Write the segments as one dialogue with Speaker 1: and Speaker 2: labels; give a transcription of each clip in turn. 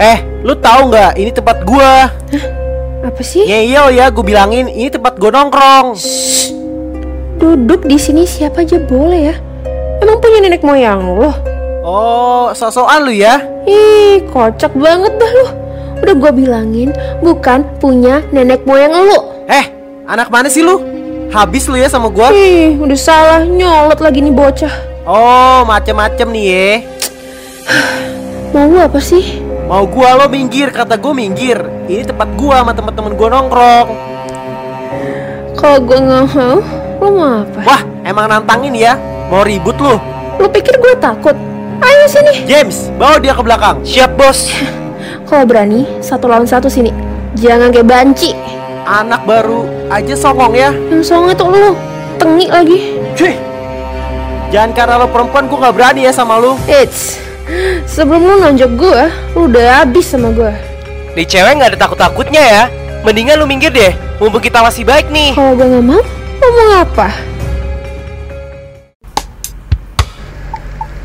Speaker 1: Eh, lu tahu nggak? Ini tempat gua.
Speaker 2: Apa sih?
Speaker 1: Ngeyel ya, gua bilangin ini tempat gua nongkrong.
Speaker 2: Duduk di sini siapa aja boleh ya. Emang punya nenek moyang lo?
Speaker 1: Oh, so-soan lu ya?
Speaker 2: Ih, kocak banget dah lo. Udah gua bilangin, bukan punya nenek moyang lo.
Speaker 1: Eh, anak mana sih lu? Habis lu ya sama gua?
Speaker 2: Ih, udah salah nyolot lagi nih bocah.
Speaker 1: Oh, macem-macem nih ya.
Speaker 2: Mau lu apa sih?
Speaker 1: Mau gua lo minggir, kata gua minggir. Ini tempat gua sama teman-teman gua nongkrong.
Speaker 2: Kalau gua nggak mau, lo mau apa?
Speaker 1: Wah, emang nantangin ya? Mau ribut lu?
Speaker 2: Lo pikir gua takut? Ayo sini.
Speaker 1: James, bawa dia ke belakang. Siap, Bos.
Speaker 2: Kalau berani, satu lawan satu sini. Jangan kayak banci.
Speaker 1: Anak baru aja songong ya.
Speaker 2: Yang songe tuh lu, tengik lagi.
Speaker 1: Cuy. Jangan karena lo perempuan gua nggak berani ya sama lu.
Speaker 2: Eits, sebelum lu nonjok gue, lu udah habis sama gue.
Speaker 3: Di cewek nggak ada takut-takutnya ya. Mendingan lu minggir deh. Mumpung kita masih baik nih.
Speaker 2: Kalau gue nggak mau, lu mau ngapa?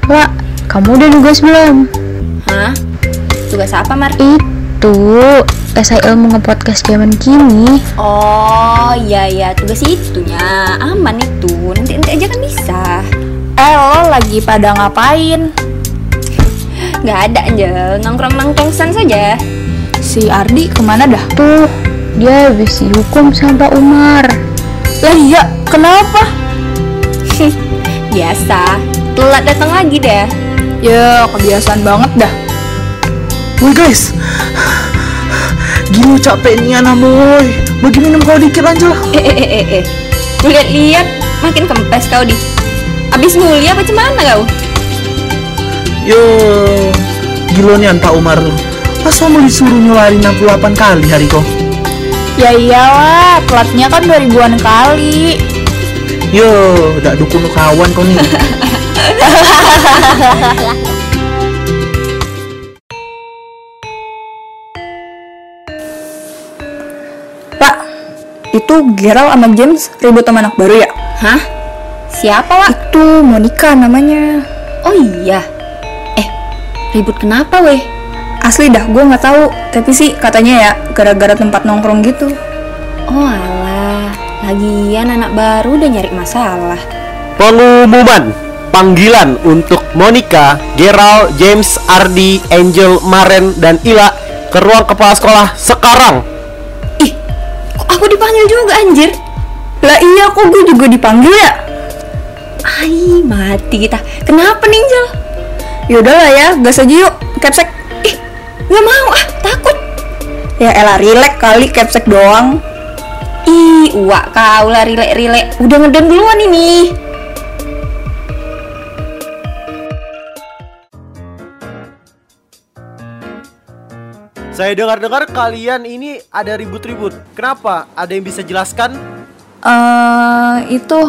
Speaker 4: Ra, kamu udah nugas belum?
Speaker 5: Hah? Tugas apa, Mar?
Speaker 4: Itu esai ilmu ngepodcast zaman kini.
Speaker 5: Oh, iya iya, tugas itunya. Aman itu. Nanti nanti aja kan bisa.
Speaker 6: Eh lo lagi pada ngapain?
Speaker 5: Nggak ada aja, nongkrong-nongkrongsan saja.
Speaker 6: Si Ardi kemana dah?
Speaker 4: Tuh, dia habis dihukum sama Pak Umar.
Speaker 6: Lah iya, kenapa?
Speaker 5: Biasa. Telat datang lagi deh.
Speaker 6: Ya kebiasaan banget dah
Speaker 7: Woi guys Gila capek nih anak boy Bagi minum kau dikit aja lah
Speaker 5: Eh eh eh eh. eh. Lihat-lihat, makin kempes kau di. Abis mulia apa cemana kau?
Speaker 7: Yo Gila nih anta Umar lu Pas mau disuruh nyularin 68 kali hari kau
Speaker 6: Ya iyalah, telatnya kan 2000-an kali
Speaker 7: Yo Dak dukun lu kawan kau nih
Speaker 6: Pak, itu Gerald sama James ribut sama anak baru ya?
Speaker 5: Hah? Siapa, Wak?
Speaker 6: Itu Monica namanya
Speaker 5: Oh iya. Eh, ribut kenapa, weh?
Speaker 6: Asli dah, gue nggak tahu. Oh, Tapi sih katanya ya gara-gara tempat nongkrong gitu.
Speaker 5: Oh alah, lagian anak baru udah nyari masalah.
Speaker 1: Pengumuman panggilan untuk Monica, Gerald, James, Ardi, Angel, Maren, dan Ila ke ruang kepala sekolah sekarang.
Speaker 5: Ih, kok aku dipanggil juga anjir?
Speaker 6: Lah iya, kok gue juga dipanggil ya?
Speaker 5: Ai, mati kita. Kenapa nih, Angel?
Speaker 6: Yaudah lah ya, gas aja yuk. Capsek.
Speaker 5: Ih, nggak mau ah, takut.
Speaker 6: Ya elah, rilek kali capsek doang.
Speaker 5: Ih, uak kau lah rilek-rilek. Udah ngeden duluan ini.
Speaker 1: Saya dengar-dengar kalian ini ada ribut-ribut. Kenapa? Ada yang bisa jelaskan?
Speaker 6: Eh, itu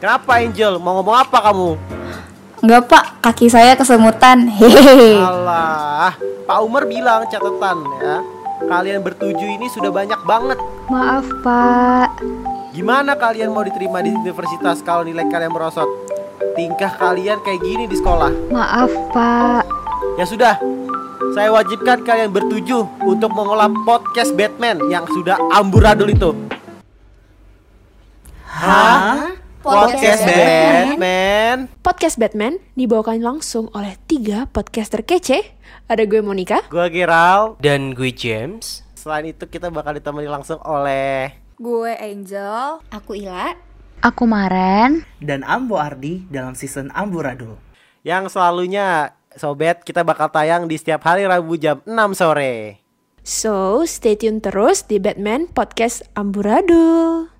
Speaker 1: Kenapa Angel? Mau ngomong apa kamu?
Speaker 6: nggak pak, kaki saya kesemutan. Hehehe.
Speaker 1: Alah, Pak Umar bilang catatan ya. Kalian bertuju ini sudah banyak banget.
Speaker 4: Maaf, Pak.
Speaker 1: Gimana kalian mau diterima di universitas kalau nilai kalian merosot? Tingkah kalian kayak gini di sekolah.
Speaker 4: Maaf, Pak.
Speaker 1: Ya sudah, saya wajibkan kalian bertujuh untuk mengolah podcast Batman yang sudah amburadul itu. Hah?
Speaker 5: Podcast Batman?
Speaker 2: Podcast Batman dibawakan langsung oleh tiga podcaster kece. Ada gue Monica,
Speaker 1: Gue Giral.
Speaker 3: Dan gue James.
Speaker 1: Selain itu kita bakal ditemani langsung oleh
Speaker 6: Gue Angel.
Speaker 5: Aku Ila.
Speaker 4: Aku Maren.
Speaker 7: Dan Ambo Ardi dalam season Amburadul
Speaker 1: yang selalunya Sobat, kita bakal tayang di setiap hari Rabu jam 6 sore.
Speaker 2: so stay tune terus di Batman Podcast Amburadul.